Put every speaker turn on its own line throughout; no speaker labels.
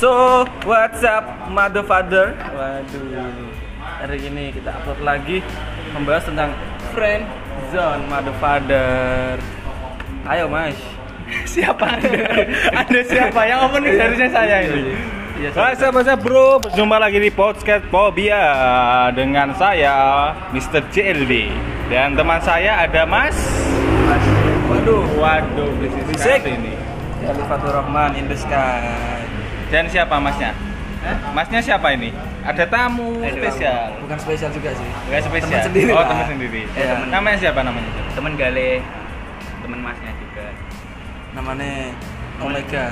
So, what's up, mother father? Waduh, hari ini kita upload lagi membahas tentang friend zone mother father. Ayo, Mas.
siapa anda? anda siapa yang opening harusnya saya ini
Iya, saya-
What's up, what's up, bro? Berjumpa lagi di podcast Pobia dengan saya Mr. JLB dan teman saya ada Mas.
Waduh,
Waduh, berisik
Berisik.
sekali ini.
Alifatul Rahman in the sky.
Dan siapa masnya? Masnya siapa ini? Ada tamu spesial.
Bukan spesial juga sih.
Enggak spesial.
Teman sendiri
oh,
lah.
teman sendiri.
Iya.
Namanya siapa namanya?
temen gale temen masnya juga
Namanya Omega.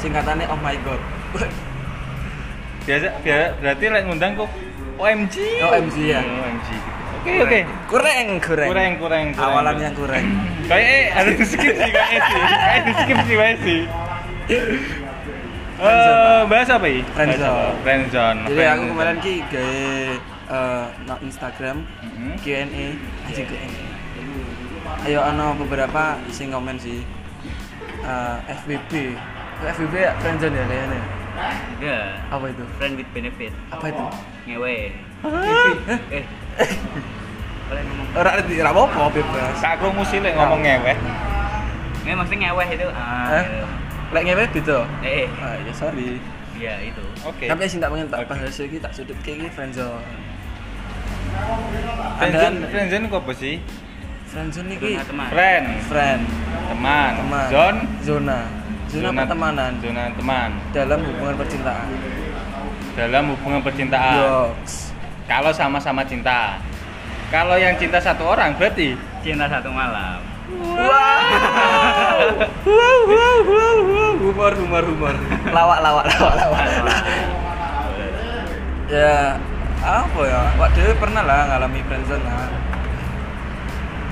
Singkatannya Oh my god.
Biasa, biasa berarti lek ngundang kok OMG.
OMG, ya.
OMG. Oke, oke.
Kurang, kurang.
Kurang, kurang, kurang.
Awalan yang kurang.
Kayaknya harus di skip sih kayaknya sih. Kayaknya di skip sih kayaknya sih. Eh, bahas apa ya?
Friendzone.
Friendzone.
Jadi aku kemarin ki gawe eh, no Instagram
Mhm.
Q&A aja Q&A. Ayo ano beberapa sing komen sih. Eh, FBB. Eh, FBB ya friendzone ya kayaknya.
ada
Apa itu?
friend with benefit
Apa itu?
ngewe
Hah?
eh boleh ngomong
Ora ngerti, ora apa-apa bebas.
Kak Krungu sih
Nah.
lek ngomong ngeweh.
ngewe maksudnya ngeweh itu ah
Eh? Lek ngewe gitu.
eh eh,
Ah, ya sorry.
iya itu
Oke.
Tapi sing tak pengen tak
Oke.
bahas iki tak sudut kayak gini friendzone.
Friendzone,
Andalan-
friendzone kok apa sih?
Friendzone iki
zona teman
Friend,
friend,
teman,
teman,
zone,
zona, zona pertemanan
zona teman
dalam hubungan percintaan.
dalam hubungan percintaan.
Yoks.
Kalau sama-sama cinta. Kalau yang cinta satu orang berarti
cinta satu malam
Wow. wow, wow, wow, wow. Humor, humor, humor. Lawak, lawak, lawak, lawak. ya, apa ya? Wak Dewi pernah lah ngalami friendzone lah.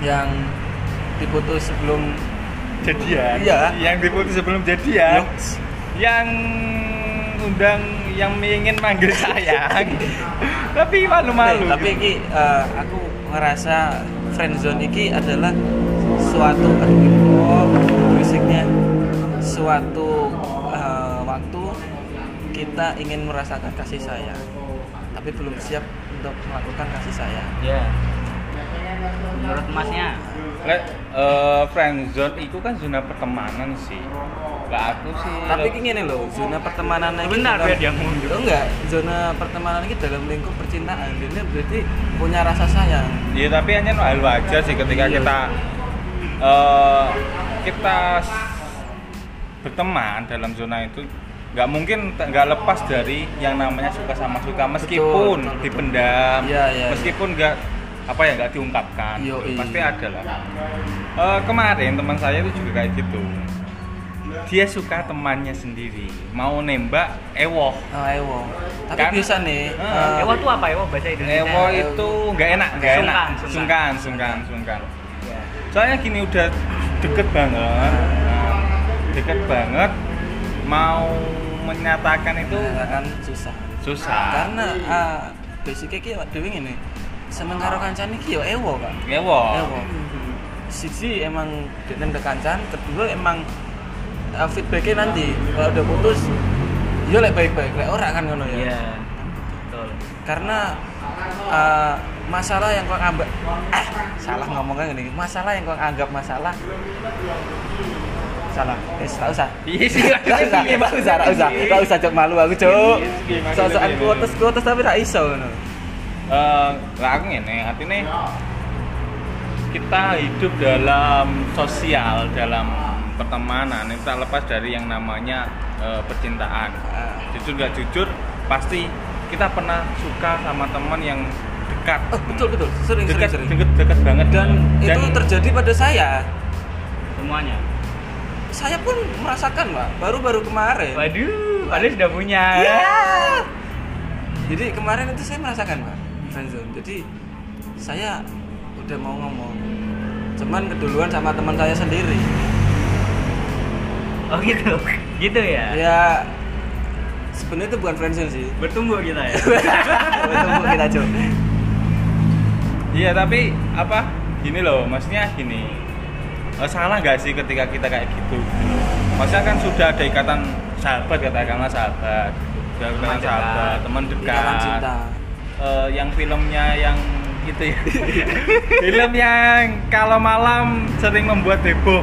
Yang diputus sebelum
jadian.
Iya.
Yang diputus sebelum jadian.
Yoks.
yang undang yang ingin manggil sayang tapi malu-malu
Nih, tapi iki eh, aku ngerasa friendzone iki adalah suatu aduh musiknya suatu eh, waktu kita ingin merasakan kasih sayang tapi belum siap untuk melakukan kasih sayang
ya menurut masnya
Lek, eh, friendzone itu kan zona pertemanan sih lah aku sih
tapi iki ngene loh zona pertemanan iki
Bentar,
dalam-
biar dia mundur.
Loh, enggak zona pertemanan ini dalam lingkup percintaan ini berarti punya rasa sayang
ya tapi hanya hal wajar sih ketika
Iya.
kita eh, kita s- berteman dalam zona itu nggak mungkin t- nggak lepas dari yang namanya suka sama suka
betul,
meskipun
betul.
dipendam
Iya, iya, iya.
meskipun nggak apa ya nggak diungkapkan gitu.
Yoi.
pasti ada lah Eh, kemarin teman saya itu juga kayak gitu dia suka temannya sendiri mau nembak ewoh
oh, ewo tapi
Kan-
bisa nih
Eh,
eh,
ewo itu apa ewo bahasa Indonesia
ewoh itu nggak enak nggak enak
Sungkan,
sungkan
sungkan.
sungkan sungkan
Iya.
soalnya gini udah deket banget Nah, deket banget mau menyatakan itu
akan Iya, kan? susah
susah
karena ah, basicnya ki awak dhewe ngene seneng karo kancan iki ya ewo kan
ngewo
ewo siji emang dengan ke kancan kedua emang ah, feedbacknya nanti kalau udah putus yo lek baik-baik lek ora kan ngono ya
iya betul
karena ah, masalah yang kau anggap eh salah ngomongnya gini masalah yang kau anggap masalah salah eh tak usah
Iya sih,
tak usah tak usah tak usah tak usah cok malu aku cok sosokan kuotes kuotes tapi tak iso ngono
Eh, lah aku ngene artinya kita hidup dalam sosial dalam pertemanan itu tak lepas dari yang namanya eh, percintaan
Ah.
jujur nggak jujur pasti kita pernah suka sama teman yang dekat
Oh, betul betul sering
dekat
sering, sering.
dekat dekat banget
Dan, itu terjadi pada saya.
semuanya
Saya pun merasakan pak. Baru-baru kemarin.
waduh padahal sudah punya
Ya. Jadi kemarin itu saya merasakan pak friendzone. Jadi saya udah mau ngomong. Cuman keduluan sama teman saya sendiri.
oh gitu gitu ya
Iya.
Ya sebenarnya itu bukan friendzone sih.
bertumbuh kita ya
Tunggu kita coba.
Iya tapi apa gini loh maksudnya gini eh, salah nggak sih ketika kita kayak gitu Maksudnya kan sudah ada ikatan sahabat katakanlah sahabat Gak
Teman
teman
dekat.
sahabat teman dekat
Ikatan cinta.
Eh, yang filmnya yang itu ya film yang kalau malam sering membuat heboh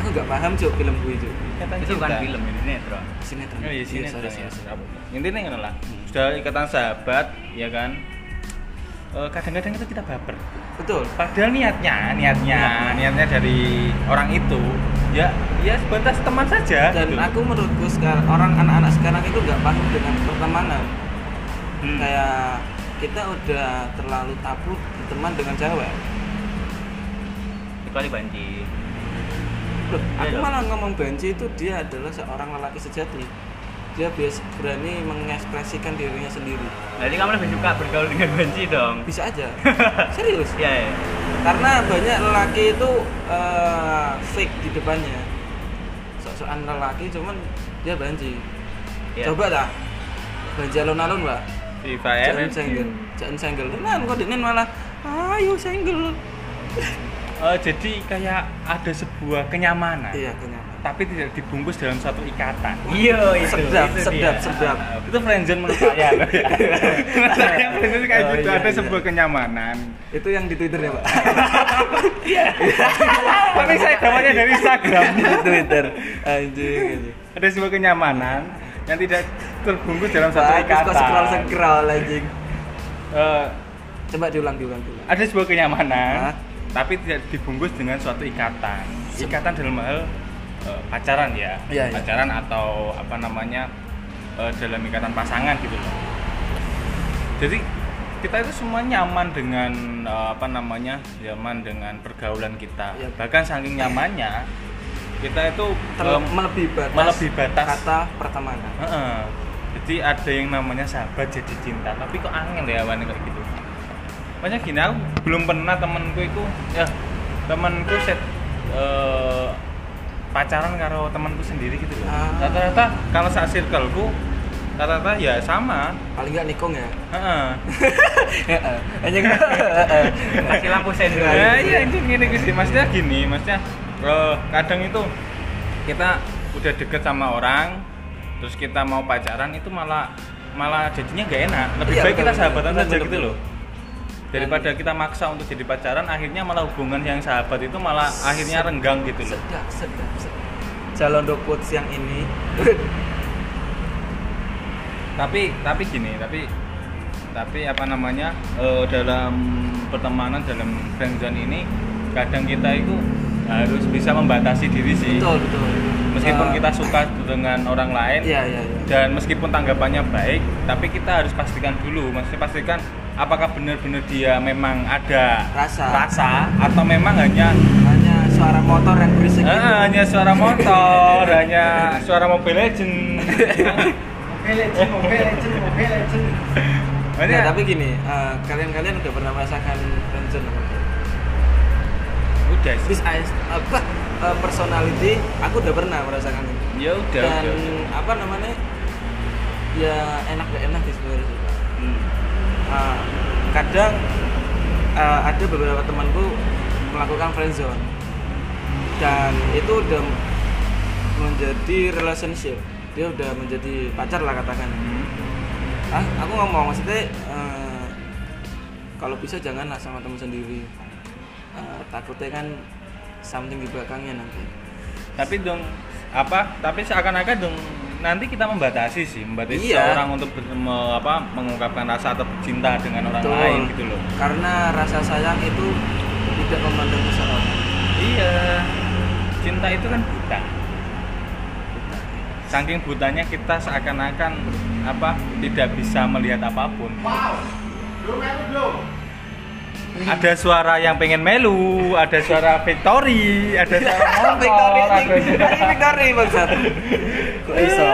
Aku nggak paham cuk film gue itu.
Ikatan
itu bukan
cinta.
film ini netron
Sinetron.
Oh iya sini
Iya, sorry, sorry, sorry.
Intinya ngono lah. Sudah ikatan sahabat, ya kan? Eh, kadang-kadang itu kita baper.
Betul.
Padahal niatnya, niatnya, niatnya dari orang itu ya ya sebatas teman saja.
Dan
gitu.
aku menurutku sekarang orang anak-anak sekarang itu nggak paham dengan pertemanan.
Hmm.
Kayak kita udah terlalu tabu berteman dengan cewek.
kecuali banci
Loh, aku
Iya.
malah ngomong Benji itu dia adalah seorang lelaki sejati. Dia bias berani mengekspresikan dirinya sendiri.
berarti kamu lebih suka bergaul dengan banci dong
Bisa aja. Serius.
ya, ya.
Karena banyak lelaki itu eh, fake di depannya. Sok-sokan lelaki cuman dia banji.
ya.
Coba dah. Banji alun-alun, Mbak.
FIFA
Jangan
RFQ.
single. Jangan single. Tenan kok dengan malah ayo single.
Eh, jadi kayak ada sebuah kenyamanan.
Iya, kenyataan.
Tapi tidak dibungkus dalam satu ikatan.
iya itu
Sedap,
itu
sedap,
dia.
sedap.
itu friendzone menurut saya. menurut saya friendzone kayak
Oh,
gitu
iya,
ada
iya.
sebuah kenyamanan.
Itu yang di Twitter ya, Pak.
Tapi saya dapatnya dari Instagram.
di Twitter. Anjing, anjing.
Ada sebuah kenyamanan yang tidak terbungkus dalam satu
Bagus
ikatan.
kok scroll-scroll anjing.
Eh,
Coba diulang, diulang, diulang.
ada sebuah kenyamanan,
Hah?
tapi tidak dibungkus dengan suatu ikatan. Ikatan dalam hal eh, pacaran ya,
Iya, iya.
pacaran atau apa namanya eh, dalam ikatan pasangan gitu loh. Jadi kita itu semua nyaman dengan eh, apa namanya, nyaman dengan pergaulan kita.
Iya.
Bahkan saking nyamannya kita itu
Ter-
eh,
melebihi batas,
melebihi batas.
kata pertemanan.
Heeh. Jadi ada yang namanya sahabat jadi cinta, tapi kok angin ya awalnya kayak gitu. Maksudnya gini, aku belum pernah temenku itu, ya temenku set eh, pacaran karo temanku sendiri gitu loh.
Ah.
Rata-rata kalau saat circleku rata-rata ya sama.
Paling nggak nikung ya.
Heeh.
Heeh. Anjing.
kasih lampu sendok
Ya, iya itu gini Gusti. Maksudnya gini, maksudnya eh, kadang itu kita udah deket sama orang, terus kita mau pacaran itu malah malah jadinya nggak enak. Lebih
Iya,
baik
betul,
kita
betul.
sahabatan
Betul,
saja
betul,
gitu
betul.
loh. Daripada kita maksa untuk jadi pacaran, akhirnya malah hubungan yang sahabat itu malah akhirnya renggang gitu loh.
Sedap, sedap, sedap. Calon dokut yang ini.
Tapi tapi gini, tapi tapi apa namanya eh, dalam pertemanan dalam friendzone ini kadang kita itu harus bisa membatasi diri sih.
betul, betul.
meskipun
Eh,
kita suka dengan orang lain
Iya, iya, iya.
dan meskipun tanggapannya baik tapi kita harus pastikan dulu maksudnya pastikan apakah benar-benar dia memang ada
Rasa.
atau memang hanya
Hanya suara motor yang berisik. gitu.
eh,
itu.
hanya suara motor hanya suara Mobile Legend
Nah,
Maksudnya,
tapi gini, eh, kalian-kalian udah pernah merasakan friendzone belum?
udah sih
This is apa eh, personality aku udah pernah merasakan itu.
ya udah
Dan
udah, udah.
apa namanya? Ya enak gak enak sih sebenarnya. sih, Pak.
Hmm.
Nah, kadang eh, ada beberapa temanku melakukan friendzone dan itu udah menjadi relationship dia udah menjadi pacar lah katakan
Hmm.
ah aku ngomong maksudnya eh, kalau bisa janganlah sama teman sendiri Eh, takutnya kan something di belakangnya nanti
tapi dong apa tapi seakan-akan dong nanti kita membatasi sih membatasi
Iya.
orang untuk ber- me- apa mengungkapkan rasa atau cinta dengan orang
Betul.
lain gitu loh
karena rasa sayang itu tidak memandang seseorang
iya cinta itu kan buta saking butanya kita seakan-akan apa tidak bisa melihat apapun ada suara yang pengen melu, ada suara Victory, ada suara
Iya, Oh,
motor,
Victory,
ada
anjing.
suara-
Anjing Victory, bangsat. Kok iso?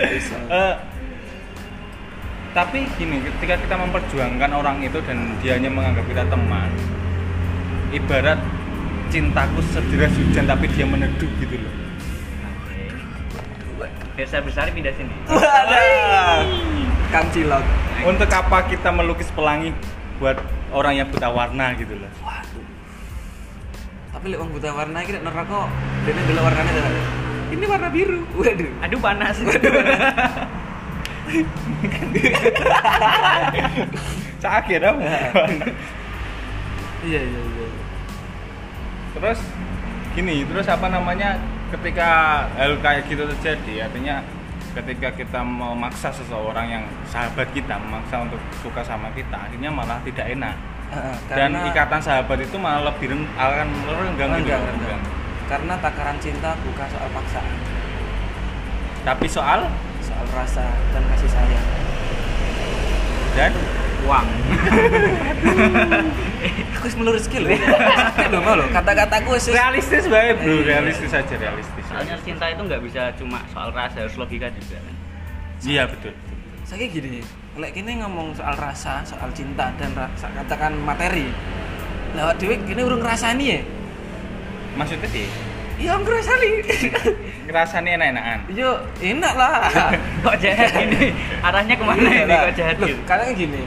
Kok iso?
Eh, tapi gini, ketika kita memperjuangkan orang itu dan dia hanya menganggap kita teman, ibarat cintaku sederas hujan tapi dia meneduh gitu loh.
biar saya besar pindah sini
Wadah. Kang Cilok.
Untuk apa kita melukis pelangi buat orang yang buta warna gitu loh?
Tapi lek wong buta warna iki nek neraka dene delok warnane ta. ini warna biru waduh
Aduh panas.
Sakit dong.
iya iya iya
terus gini, terus apa namanya ketika hal kayak gitu terjadi artinya ketika kita memaksa seseorang yang sahabat kita memaksa untuk suka sama kita akhirnya malah tidak enak
Ah,
dan ikatan sahabat itu malah lebih reng, akan renggang gitu
Renggang,
ya,
renggang.
renggang.
karena takaran cinta bukan soal paksaan
tapi soal
soal rasa dan kasih sayang
dan
Uang.
aku harus melurus skill sakit dong lo kata-kataku sis
realistis baik bro
Iya.
realistis aja realistis
Soalnya cinta itu nggak bisa cuma soal rasa, harus logika juga kan.
iya betul
saya gini lek kini ngomong soal rasa soal cinta dan rasa katakan materi lewat dewi kini urung ngerasani ya
maksudnya sih
iya ngerasani
ngerasanya enak-enakan
yo enak lah
Kok jahat ini? Arahnya kemana
Iya
ini?
lah.
Kok jahat
Loh,
gitu?
karena gini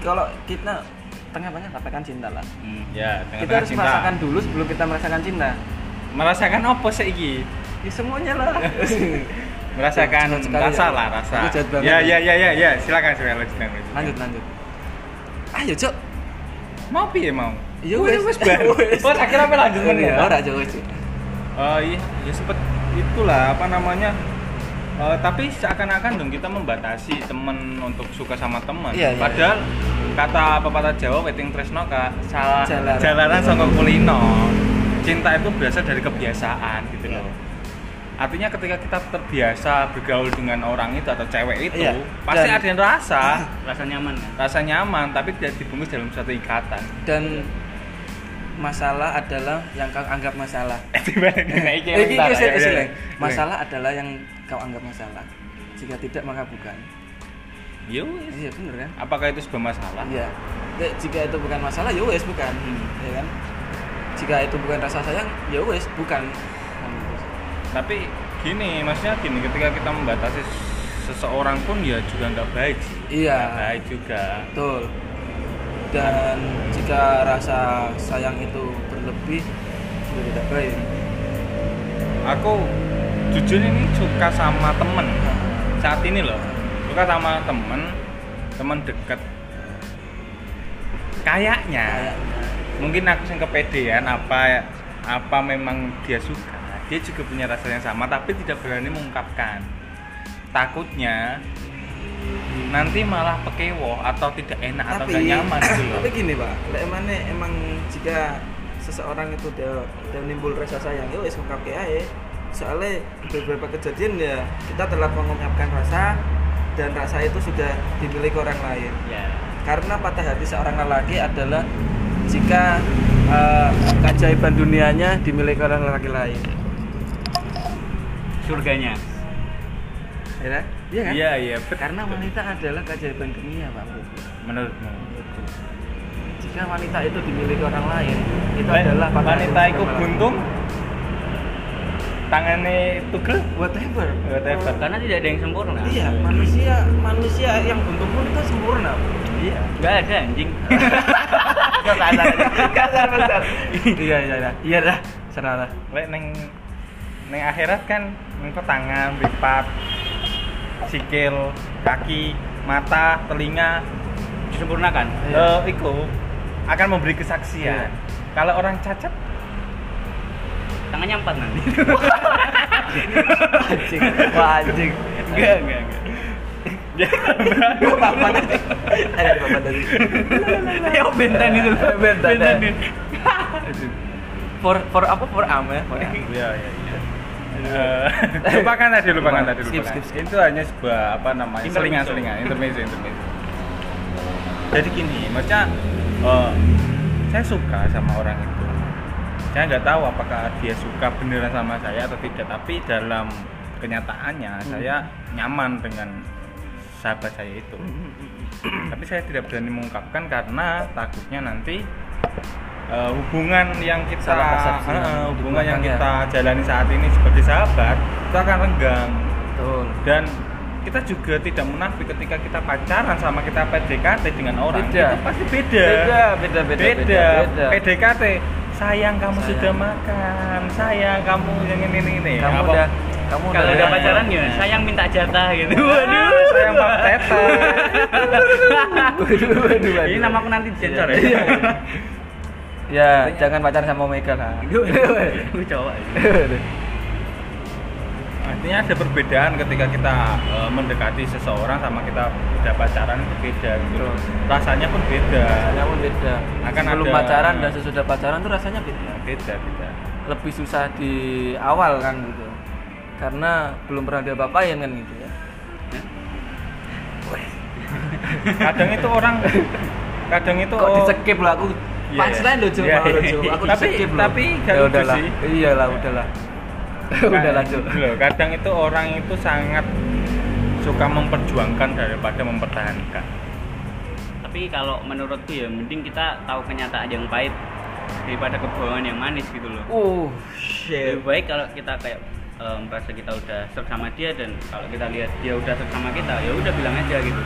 kalau kita tengah-tengah katakan cinta lah
Hmm.
ya
kita
tengah-tengah
harus
cinta
merasakan dulu sebelum kita merasakan cinta
merasakan apa saiki
ya semuanya lah
merasakan
Jahat sekali
rasa
ya.
lah rasa
Aku jahat banget.
ya ya ya ya ya silakan silakan lanjutkan lanjutkan.
lanjut lanjut ayo cok
mau piye mau
Iya,
Wih,
wes.
wes baru
Wes.
oh akhirnya apa lanjut men ya
ora cok wis.
Eh, iya ya sempet itulah apa namanya Eh, tapi seakan-akan dong kita membatasi temen untuk suka sama temen
Iya, iya,
padahal kata pepatah Jawa Weting Tresno ka salah
Jalaran.
jalanan saka kulino cinta itu berasal dari kebiasaan
Iya.
gitu loh artinya ketika kita terbiasa bergaul dengan orang itu atau cewek itu
Iya.
pasti
Dan-
ada yang rasa
Rasa nyaman kan?
rasa nyaman tapi tidak dibungkus dalam satu ikatan
dan masalah adalah yang kau anggap masalah
Ini ya,
Eh, iki- iki- iki- iki- masalah adalah yang kau anggap masalah jika tidak maka bukan
Yowis.
iya bener kan
Ya Apakah itu sebuah masalah?
iya Eh, jika itu bukan masalah ya wes bukan
Hmm.
ya kan jika itu bukan rasa sayang ya wes bukan Kan gitu sih.
Tapi gini, maksudnya gini, ketika kita membatasi seseorang pun ya juga nggak baik sih.
Iya.
Nggak baik juga.
betul dan jika rasa sayang itu berlebih juga tidak baik
Aku jujur ini suka sama temen
Nah,
saat ini loh. Suka sama temen, temen deket. Kayaknya,
kayaknya
mungkin aku sing kepedean apa apa memang dia suka dia juga punya rasa yang sama tapi tidak berani mengungkapkan takutnya nanti malah pekewo atau tidak enak atau nggak nyaman gitu loh
tapi gini pak lek emane emang jika seseorang itu udah udah nimbul rasa sayang yo wis ngungkap ae soalnya beberapa kejadian ya kita telah mengungkapkan rasa dan rasa itu sudah dimiliki orang lain
Ya.
karena patah hati seorang lelaki adalah jika eh, keajaiban dunianya dimiliki orang lelaki lain
Surganya.
ya kan? iya kan?
iya iya betul.
karena wanita adalah keajaiban dunia pak
menurutmu
jika wanita itu dimiliki orang lain itu
Wan-
adalah patah hati
wanita itu
seorang lelaki.
buntung tangannya tugel
whatever
Whatever.
Karena tidak ada yang sempurna.
iya manusia manusia yang bentuk pun itu sempurna
iya
Nggak ada anjing.
kasar kasar iya iya iya iya dah serah dah
lek neng neng akhirat kan engko tangan lipat sikil kaki mata telinga
Disempurnakan.
Iya.
eh iku akan memberi
Iya.
kesaksian kalau orang cacat
Tangannya empat nanti.
anjing wah anjing
eh.
Enggak, enggak, enggak.
apa tadi ada apa tadi
Ya benten itu.
Benten, ya.
itu.
for for apa for am ya for am.
iya iya iya Eh, lupakan tadi lupakan tadi
Skip,
lupakan
skip, skip.
itu hanya sebuah apa namanya
Intermezzo.
selingan selingan intermezzo intermezzo jadi gini maksudnya eh, saya suka sama orang itu saya nggak tahu apakah dia suka beneran sama saya atau tidak tapi dalam kenyataannya
Hmm.
saya nyaman dengan sahabat saya itu tapi saya tidak berani mengungkapkan karena takutnya nanti eh, hubungan yang kita
Salah persepsi ya.
eh, eh, hubungan yang
nanti.
kita jalani saat ini sebagai sahabat itu akan renggang
betul
dan kita juga tidak munafik ketika kita pacaran sama kita PDKT dengan orang
Beda.
itu pasti beda
beda beda beda
Iya. beda, PDKT sayang kamu
Sayang.
sudah makan sayang kamu yang ini ini
kamu
Apa-
udah
Kamu
iya,
Kalau
udah-
udah pacaran gimana? Sayang minta jatah gitu. Waduh.
Sayang Pak Tete.
Waduh, waduh, waduh.
Ini nama aku nanti disensor ya.
Iya. Ya, jangan pacaran sama Omega lah. iya,
Gue cowok. ya.
Artinya ada perbedaan ketika kita eh, mendekati seseorang sama kita udah pacaran itu beda gitu.
Betul.
Rasanya pun beda.
Rasanya pun beda.
Akan
Sebelum
ada-
pacaran dan sesudah pacaran tuh rasanya beda.
Beda, beda.
Lebih susah di awal kan gitu. Karena belum pernah dia bapain kan gitu ya.
Kadang itu orang kadang itu
Kok
oh,
di skip lah aku
Iya,
punchline loh Jo,
iya.
maaf loh, Jo. Aku
Tapi-
di-skip loh.
tapi gak
ya
lucu
udahlah.
sih.
Iyalah, udahlah. Kan. udahlah Jo.
Loh, kadang itu orang itu sangat suka memperjuangkan daripada mempertahankan.
Tapi kalau menurutku ya mending kita tahu kenyataan yang pahit daripada kebohongan yang manis gitu loh.
Uh,
Lebih baik kalau kita kayak eh, merasa kita udah serg sama dia dan kalau kita lihat dia udah serg sama kita ya udah bilang aja gitu.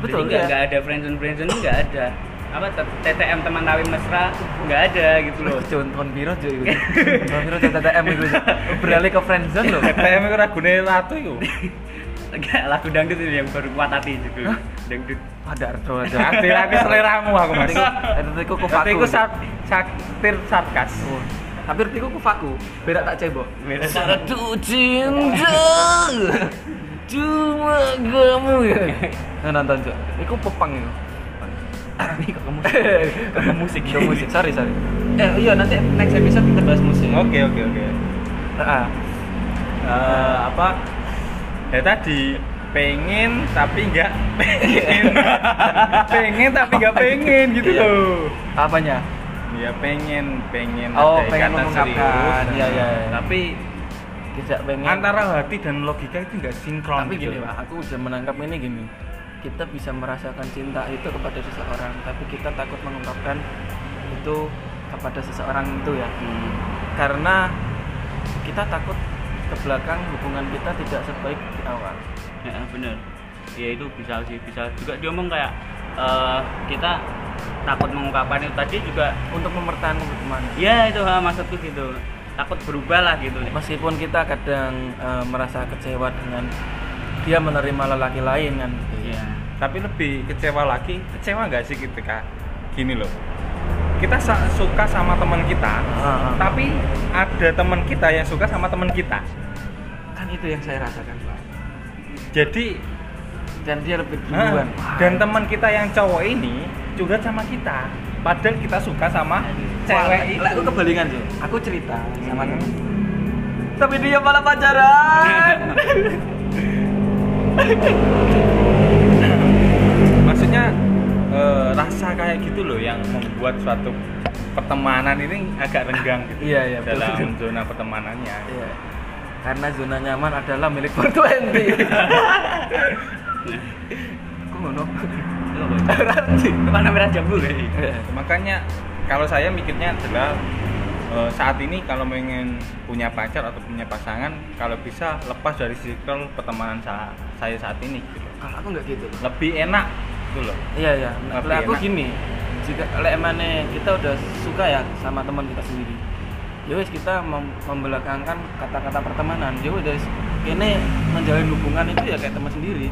Betul,
Jadi nggak
iya.
nggak ada friendzone friendzone nggak ada. Apa T- TTM teman kawin mesra nggak ada gitu loh.
Jon Ton Biro Jo itu. Ton Biro TTM itu. Beralih ke friendzone loh.
TTM itu ragune latu itu.
Nggak, lagu dangdut itu yang baru kuat hati gitu. Dangdut.
Ada Ardo aja.
Nanti aku seleramu aku Mas.
Artiku ku
Tapi
faku.
aku sat saktir sarkas.
Oh, Hampir tiku ku faku. Berak tak cebok.
Berak.
Satu cinta. Cuma kamu ya. Nah, nonton Jo. Iku pepang ya.
Ini kok kamu
Ke musik. Ke musik. Sorry, sorry. Eh, iya nanti next episode kita bahas musik.
Oke oke oke.
Ah. Eh, apa?
Ya tadi pengen tapi nggak pengen. pengen tapi nggak pengen gitu
Oh, Iya.
loh.
Apanya?
Ya pengen pengen
Oh,
ada
pengen
ikatan
mengungkapkan.
serius.
Iya, iya, iya.
Tapi
Tidak pengen
antara hati dan logika itu nggak sinkron
tapi
gitu.
gini pak aku udah menangkap ini gini kita bisa merasakan cinta itu kepada seseorang tapi kita takut mengungkapkan itu kepada seseorang itu ya
Hmm.
karena kita takut ke belakang hubungan kita tidak sebaik di awal
Ya, bener. Ya itu bisa sih, bisa juga diomong kayak eh, kita takut mengungkapkan itu tadi juga.
untuk mempertahankan hubungan
Ya itu ha, maksudku gitu. Takut berubah lah gitu.
meskipun kita kadang eh, merasa kecewa dengan dia menerima lelaki lain kan
Iya.
tapi lebih kecewa lagi kecewa nggak sih ketika gini loh kita sa- suka sama teman kita
Ah, ah.
tapi ada teman kita yang suka sama teman kita
kan itu yang saya rasakan pak
jadi
dan dia lebih
ah,
duluan Wah,
dan teman kita yang cowok ini curhat sama kita padahal kita suka sama
cewek
cewek itu
aku kebalikan tuh aku cerita sama
Hmm.
kamu tapi dia malah pacaran
maksudnya eh, rasa kayak gitu loh yang membuat suatu pertemanan ini agak renggang gitu
Iya, iya, betul.
dalam zona pertemanannya
Iya. karena zona nyaman adalah milik 420 aku ngono
Kemana merah jambu ya?
Iya.
makanya kalau saya mikirnya adalah eh, saat ini kalau ingin punya pacar atau punya pasangan kalau bisa lepas dari circle pertemanan sa- saya saat ini gitu.
kalau aku nggak gitu
lebih enak gitu loh
iya iya
Tapi
kalau aku
enak.
gini jika lek mana kita udah suka ya sama teman kita sendiri ya wis kita mem- membelakangkan kata-kata pertemanan ya udah ini menjalin hubungan itu ya kayak teman sendiri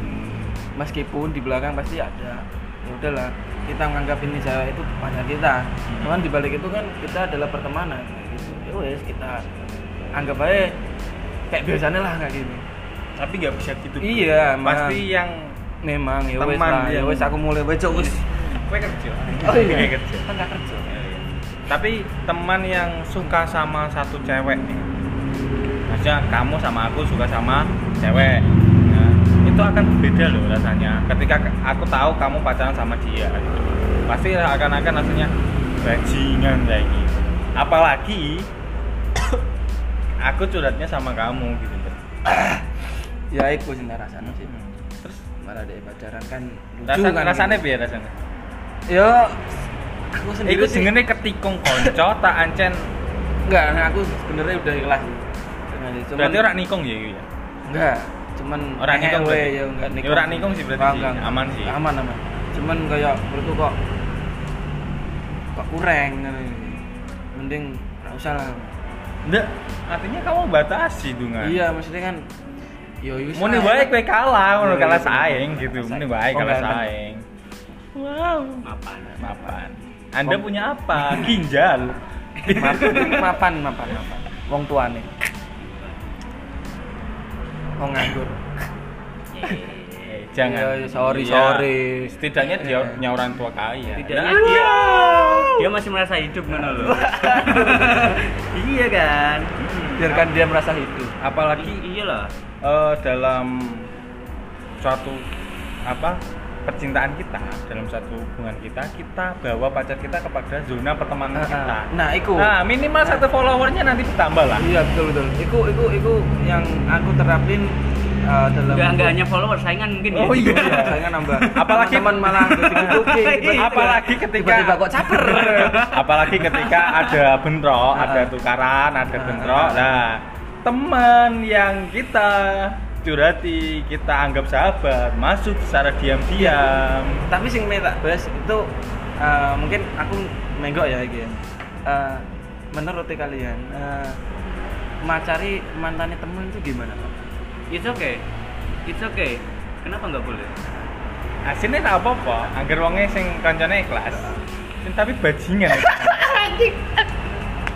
meskipun di belakang pasti ada ya udahlah kita menganggap ini cewek itu pacar kita
Hmm.
cuman di balik itu kan kita adalah pertemanan gitu. ya wis kita anggap aja kayak biasanya lah kayak gitu
tapi nggak bisa gitu Bro.
Iya,
pasti
Mas.
yang
memang ya wis
Teman Iya.
lah ya
yang-
wis aku mulai wis Cuk, wis
kue kerja
Oh iya.
Kue kerja
kan nggak kerja
tapi teman yang suka sama satu cewek nih maksudnya kamu sama aku suka sama cewek ya, itu akan beda loh rasanya ketika aku tahu kamu pacaran sama dia gitu. pasti akan-akan rasanya bajingan lagi apalagi aku curhatnya sama kamu gitu
Hmm. ya iku sing tak rasakno sih
terus
malah deh pacaran kan lucu
rasa,
kan
rasanya biar rasanya
yo aku sendiri
itu
sih
jenenge ketikung konco tak ancen
enggak nah, aku sebenarnya udah ikhlas Dengan itu, cuman
berarti orang nikung ya gitu ya
enggak cuman
Orang
eh,
nikung
weh,
berarti?
ya enggak
Ya, orang nikung sih berarti
Enggak,
sih.
enggak.
Aman sih.
aman aman cuman kayak menurutku kok
Nah.
kok kurang ngene. mending nggak usah lah
Nggak, artinya kamu batasi dungan.
iya maksudnya kan yo wis
Mau nih
lah.
baik baik kalah, mau
Iya,
kalah
iya,
saing
iya.
gitu.
Kalah
Mau nih
saing.
baik kalah
Pembelaan.
saing. Wow.
mapan
Mapan. Anda punya apa? Ginjal.
mapan mapan mapan mapan wong tuane wong nganggur
Eh, Jangan.
Iya, iya, sorry,
Iya.
sorry.
Setidaknya dia punya orang tua kaya.
Setidaknya
Nah,
dia dia masih merasa hidup mana loh iya kan
biarkan dia merasa hidup
Apalagi
I- iya lah
eh, dalam suatu apa percintaan kita dalam suatu hubungan kita kita bawa pacar kita kepada zona pertemanan kita
nah iku
nah minimal satu followernya nanti bertambah lah
iya betul betul iku iku iku yang aku terapin eh, dalam
nggak nggak hanya follower saingan mungkin
Oh,
ya.
iya.
saya kan nambah
Apalagi-
teman malah digebukin, tiba-tiba-
apalagi ketika-
tiba-tiba kok caper
apalagi ketika ada bentrok
Ah.
ada tukaran ada
Ah.
bentrok nah teman yang kita curhati kita anggap sahabat masuk secara diam-diam
tapi sing me tak bahas itu eh, mungkin aku menggok ya iki ya. Eh, menurut kalian eh, macari mantannya temen itu gimana Pak?
it's okay it's okay kenapa nggak boleh
aslinya tak apa-apa anggar wonge sing kancane ikhlas Sing tapi bajingan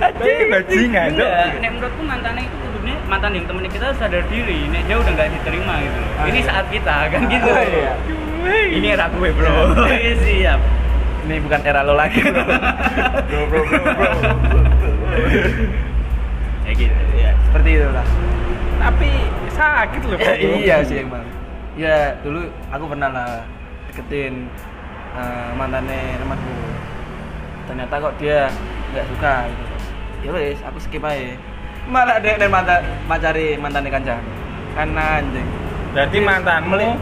tapi
Iya,
bajingan Dok.
Enggak, Iya, nek menurutku mantannya itu kudunya mantan yang temennya kita harus sadar diri, nek dia udah nggak diterima gitu.
Ah,
Ini
iya.
saat kita kan gitu.
Oh, iya.
Ini era gue bro. Iya, Siap.
ini bukan era lo lagi bro
bro bro bro bro
Ya gitu.
ya seperti itulah
tapi sakit loh
Ya,
Bro.
iya sih emang ya dulu aku pernah lah deketin eh, mantannya temanku ternyata kok dia nggak suka gitu ya wes aku skip aja malah dek dan mantan macari mantannya kancan karena anjing
berarti
Iya.
mantanmu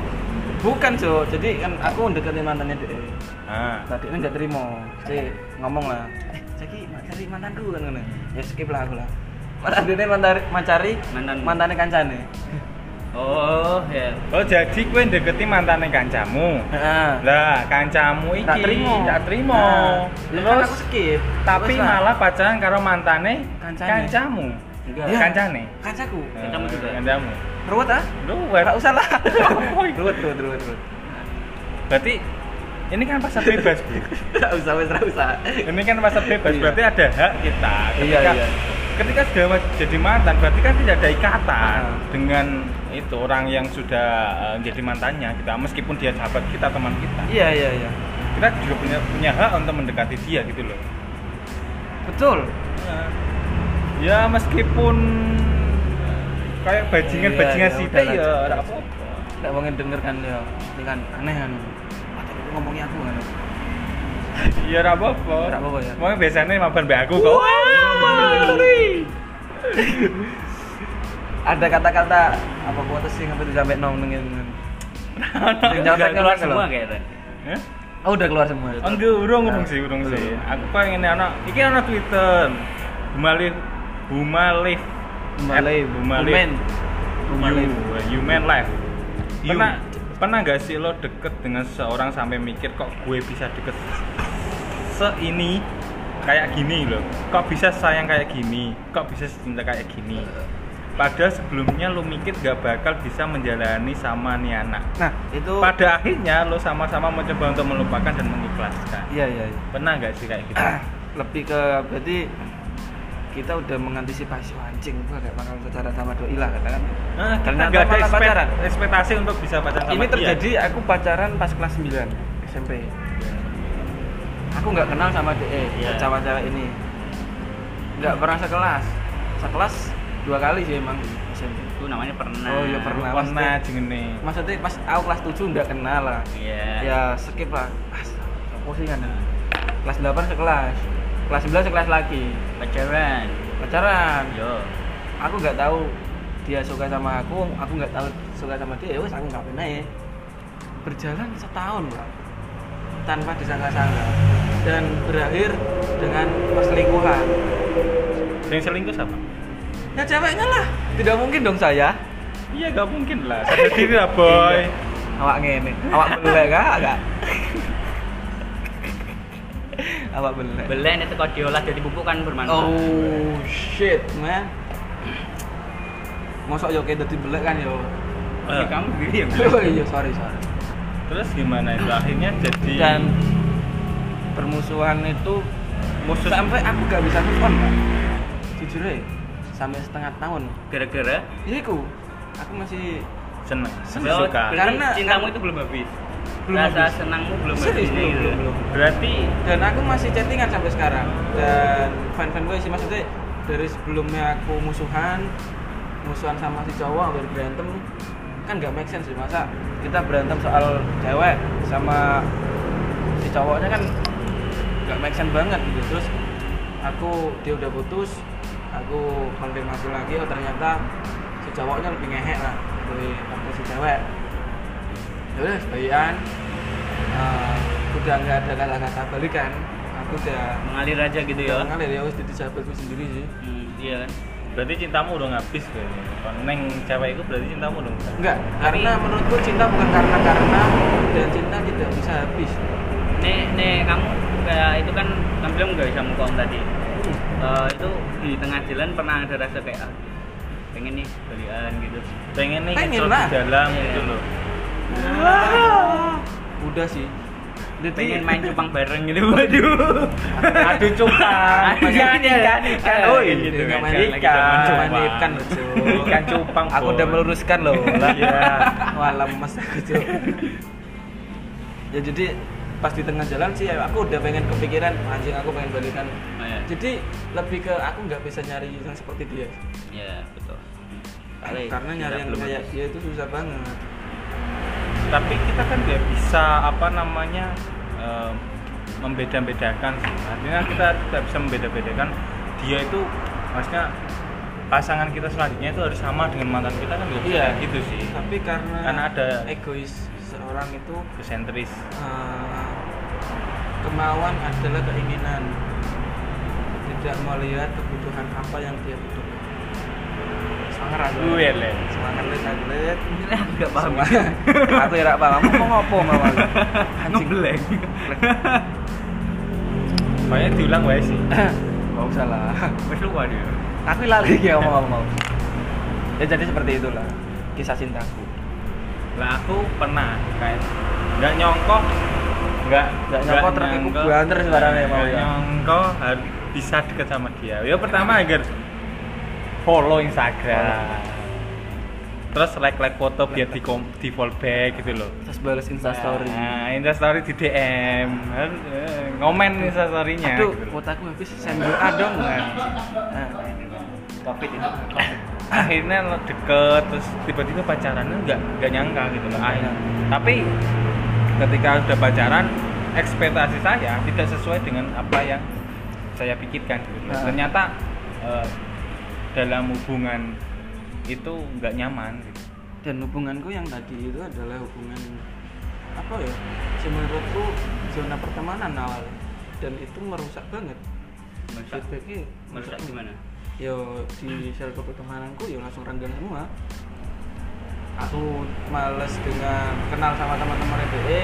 bukan so jadi kan aku deketin mantannya dek
ah
tadi ini nggak terima si ngomong lah eh jadi macari mantanku kan kan ya skip lah aku lah malah dek mantan macari
Mantan.
mantannya kancane
Oh, ya.
Oh jadi kue deketi mantannya kancamu
Heeh.
Lah kancamu iki
Tak terima.
tak terima.
Nah, kan
Terus
aku skip.
tapi
Terus lah,
malah pacaran karo mantane
Kancane.
kancamu
Enggak.
Ya. Kancane
kancaku.
Kancamu juga.
Kancamu
Iya. Ruwet ah? Oh
Luar
Enggak usah lah.
Woi.
ruwet, ruwet, ruwet, ruwet.
Berarti ini kan pasar bebas Bu
Enggak usah, wes enggak usah.
Ini kan pasar bebas
Iya.
berarti ada hak kita
Iya,
ketika
iya.
ketika sudah ma- jadi mantan berarti kan tidak ada ikatan
Ah.
dengan itu orang yang sudah eh, jadi mantannya kita meskipun dia sahabat kita teman kita
Iya, iya, iya.
kita juga punya punya hak untuk mendekati dia gitu loh
Betul. Iya.
ya meskipun kayak bajingan bajingan
Iya, iya,
sih
udah
ya
lanjut.
ada apa
Enggak mau denger kan ya. Ini kan aneh kan. Pacar aku ngomongnya aku kan.
ya ada apa apa
Nggak apa-apa ya.
Makanya biasanya mabar mbak aku kok
Ada kata-kata apa kuota sih sampai sampai nong kan. nengin. Sing
Udah
nyontek
keluar
nyontek
semua
loh.
kayaknya.
Hah?
kan? Oh, udah keluar semua.
Oh, enggak Eh? urung urung
Nah,
sih urung
belum.
sih aku pengen anak iki anak twitter humalif humalif
Malay,
At
Umen. Humalif.
humalif you, human life
You.
pernah pernah gak sih lo deket dengan seorang sampai mikir kok gue bisa deket seini kayak gini loh kok bisa sayang kayak gini kok bisa cinta kayak gini padahal sebelumnya lo mikir gak bakal bisa menjalani sama nih anak
Nah, itu
pada akhirnya lo sama-sama mencoba untuk melupakan dan mengikhlaskan
Iya, iya, iya.
pernah gak sih kayak gitu
Ah, lebih ke berarti kita udah mengantisipasi "Wah, anjing gua gak bakal pacaran sama doi lah katakan
Nah, kita
Ternyata
gak ada
malah
ekspek-
pacaran.
ekspektasi untuk bisa pacaran sama
ini
dia.
terjadi aku pacaran pas kelas 9 SMP aku nggak kenal sama DE
Iya.
cewek-cewek ini nggak pernah sekelas sekelas dua kali sih emang SMP
Itu namanya pernah.
Oh, iya, pernah.
warna
Maksudnya-
jengene
maksudnya pas aku kelas 7 nggak kenal lah
Iya.
ya skip lah ah, apa sih kan kelas 8 sekelas kelas 9 sekelas lagi
Pacaran.
pacaran
Yo.
aku nggak tahu dia suka sama aku aku nggak tahu suka sama dia ya wes aku nggak pernah ya berjalan setahun Pak. tanpa disangka-sangka dan berakhir dengan perselingkuhan
yang selingkuh siapa?
ya ceweknya lah tidak mungkin dong saya
iya gak mungkin lah sadar diri lah boy
awak ngene awak melek gak gak
apa bener
belen itu kalau diolah jadi pupuk kan bermanfaat
oh shit
man mosok yo kayak dadi belek kan yo
Tapi kamu sendiri ya
oh iya sorry sorry
Terus gimana itu akhirnya jadi
dan permusuhan itu musuh sampai aku gak bisa move on Pak. jujur ya sampai setengah tahun
gara-gara
ini aku aku masih
seneng,
Seneng.
suka.
berarti
Karena-
cintamu
karena-
itu belum habis
Belum
rasa
habis.
senangmu belum
serius
habis
belum,
gitu.
belum, belum.
Berarti
dan aku masih chattingan sampai sekarang dan fan fan gue sih maksudnya dari sebelumnya aku musuhan musuhan sama si cowok hampir berantem kan gak make sense sih masa kita berantem soal cewek sama si cowoknya kan gak make sense banget gitu terus aku dia udah putus aku konfirmasi lagi oh ternyata si cowoknya lebih ngehek lah dari waktu si cewek ya udah sebagian eh, udah nggak ada kata-kata balikan aku udah
mengalir aja gitu ya
udah ngalir ya wis jadi sahabatku sendiri sih
Hmm, iya kan
berarti cintamu udah ngabis kayaknya. Kalau Neng cewek itu berarti cintamu udah enggak.
enggak
Tapi-
karena menurutku cinta bukan karena karena dan cinta tidak bisa habis
nek nek kamu kayak itu kan kamu bilang nggak bisa move on tadi Eh, itu di tengah jalan pernah ada rasa kayak ah, pengen nih belian gitu
Pengen nih
Pengen
kalau
lah.
di dalam
Iya.
gitu loh.
udah sih jadi
pengen main cupang bareng gitu waduh
Aduh cupang.
Aduh, jangan, jangan, ikan.
Oh,
Iya,
gitu
nggak
kan.
main
Jangan lagi
ikan.
cupang,
Nggak main
cupang.
ikan, Cuk.
Ikan cupang.
aku udah
Bon.
meluruskan loh lah
Iya.
wah lemes aku Cuk. ya jadi pas di tengah jalan sih aku udah pengen kepikiran anjing aku pengen balikan
Iya.
jadi lebih ke aku nggak bisa nyari yang seperti dia
Iya, betul Kali
karena
kita
nyari yang
Iya, belum
kayak dia itu susah banget
Tapi kita kan nggak bisa apa namanya em, membeda-bedakan sih. Artinya kita tidak bisa membeda-bedakan dia itu maksudnya pasangan kita selanjutnya itu harus sama dengan mantan kita kan nggak bisa
Iya.
kayak gitu sih.
tapi karena,
Karena ada-
egois seorang itu
Kesentris.
eh, kemauan adalah keinginan tidak melihat kebutuhan apa yang dia butuhkan semangat aku
Gue Iya, le.
semangat les aku les
nggak paham
aku ya rak paham mau ngopo mau aku anjing
ngeblank
Banyak diulang wae sih.
nggak usah lah
wes lupa dia
aku lali ya mau mau ya jadi seperti itulah kisah cintaku
lah aku pernah kayak nggak nyongkok nggak
Nggak nyongkok, terus aku banter sebarangnya, Pak,
nggak
ya.
nyongkok harus bisa deket sama dia ya pertama agar follow instagram terus like like foto biar di kom- di follow back gitu loh
terus balas instastory
nah, instastory di dm Harus, eh, ngomen instastorynya
aduh
gitu loh.
kuotaku habis sendok adong
Nah,
Nah,
covid itu
akhirnya lo deket terus tiba-tiba pacarannya nggak nggak nyangka gitu loh akhirnya tapi ketika udah pacaran ekspektasi saya tidak sesuai dengan apa yang saya pikirkan gitu loh.
Nah.
ternyata eh, dalam hubungan itu nggak nyaman gitu
dan hubunganku yang tadi itu adalah hubungan apa ya sih menurutku zona pertemanan awal dan itu merusak banget
merusak
feedbacknya
merusak gimana
yo ya di circle pertemananku yo langsung renggang semua aku males dengan kenal sama teman-teman EBE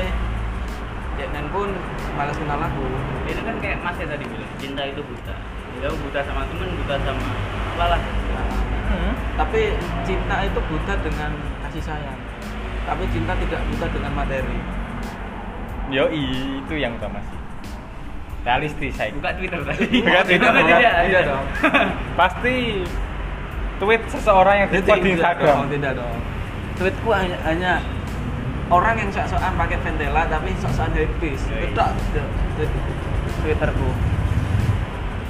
Yaknen pun males kenal aku
itu kan kayak mas ya tadi bilang cinta itu buta kamu buta sama temen buta sama apalah
Nah,
Hmm?
tapi cinta itu buta dengan kasih sayang tapi cinta tidak buta dengan materi
yo itu yang utama sih realistis saya
buka twitter tadi
Buka Twitter,
Buka
buka.
tidak,
Iya dong.
pasti tweet seseorang yang
Jadi
dibuat di
tidak
Instagram
dong, tidak dong. Tweetku hanya, hanya orang yang sok-sokan pakai Ventela tapi sok-sokan hype beast.
Ya, iya.
Tidak, Twitterku.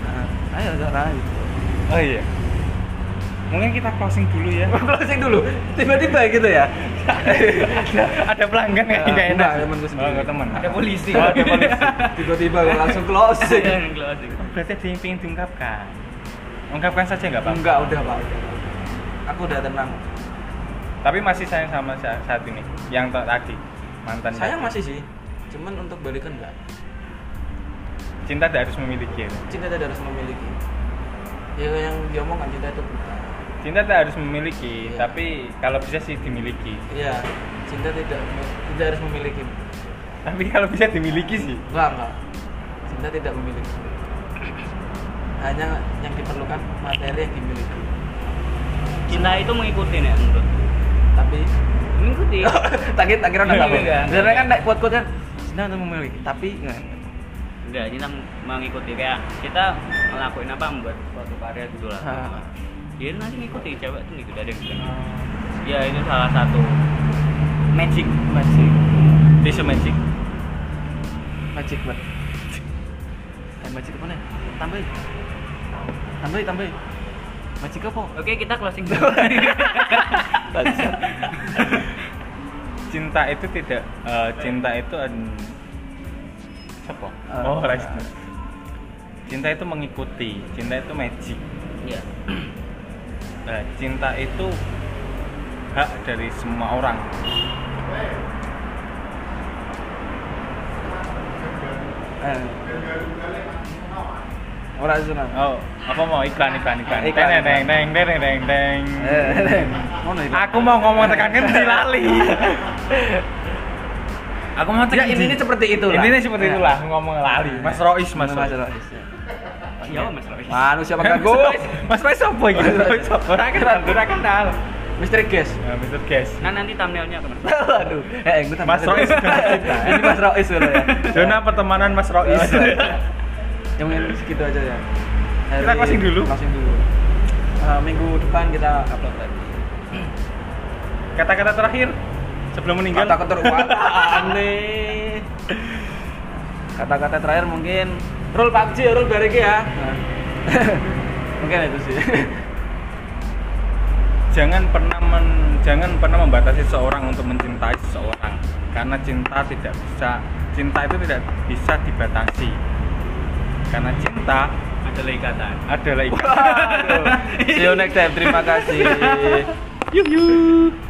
Nah, ayo Zara.
oh iya mungkin kita closing dulu ya
Closing dulu. Tiba-tiba gitu ya.
ada pelanggan nggak?
Eh,
Nggak enak.
enggak, temen gue sendiri. Iya.
Oh, enggak temen.
ada polisi
Oh, ada polisi.
Tiba-tiba gue langsung closing.
Ada Iya. yang closing.
Berarti ada yang ingin diungkapkan. Ungkapkan saja nggak apa-apa.
Enggak, udah Pak. Aku udah tenang.
Tapi masih sayang sama sa- saat ini. Yang t- tadi mantan.
Sayang
tadi.
masih sih. Cuman untuk balikan enggak.
Cinta tidak harus memiliki.
Cinta tidak harus memiliki. Ya yang diomongkan cinta itu buta.
Cinta tidak harus memiliki,
Iya.
tapi kalau bisa sih dimiliki.
Iya, cinta tidak tidak harus memiliki.
Tapi kalau bisa dimiliki sih.
Enggak, enggak. Cinta Anda tidak memiliki. Hanya yang diperlukan materi yang dimiliki.
cinta itu mengikuti nek menurut
Tapi
mengikuti
tak kira tak kira udah
Iya,
apa.
iya.
Sebenarnya kan kuat kuat kan. Nah, untuk memiliki. Tapi nggak.
enggak cinta mengikuti kayak kita ngelakuin apa membuat suatu karya gitu lah
Ha.
dia nanti ngikuti cewek tuh ngikuti ada yang bilang ya itu salah satu magic
Masih
This is magic.
magic banget. Eh, magic apa nih? Tambah. Tambah, tambah. Magic apa?
oke kita closing dulu
Cinta itu tidak eh, cinta itu an- apa?
Eh.
oh, right. Cinta itu mengikuti, cinta itu magic.
Iya.
Nah, cinta itu hak dari semua orang.
Eh. Ora sunat.
Oh, apa mau iklan iklan iklan.
Eh, iklan,
Teng,
iklan.
teng, teng, teng, teng, teng.
Eh, ngono iki.
Aku mau ngomong tekan ngendi lali. Aku mau
Ya,
tekan
intinya seperti itulah.
Intinya seperti
Ya.
itulah ngomong lali. Mas Rois, Mas
Mas
Rois.
Rois. ya.
Iya, Mas Roy.
Manu siapa
Mas
kan gue?
Rois. Mas Rois apa iki? Mas Rois apa? Ora kenal, ora kenal.
Misteri guys.
Nah, Mr. Guys.
Nah, nanti thumbnailnya ke Mas.
Aduh, eh gue
Mas Rois.
Ini Mas Rois dulu ya.
Zona pertemanan Mas Rois.
Ya mungkin segitu aja ya. Hari-
Kita closing dulu.
Closing dulu. Eh, minggu depan kita upload lagi.
Kata-kata terakhir sebelum meninggal.
Kata keterwaan nih. Kata-kata terakhir mungkin rule PUBG ya, rule bareng ya. mungkin itu sih.
jangan pernah men- jangan pernah membatasi seorang untuk mencintai seseorang karena cinta tidak bisa cinta itu tidak bisa dibatasi karena cinta
Ada ikatan.
adalah ikatan
Aduh. See you next time. Terima kasih.
Yuh, yuh.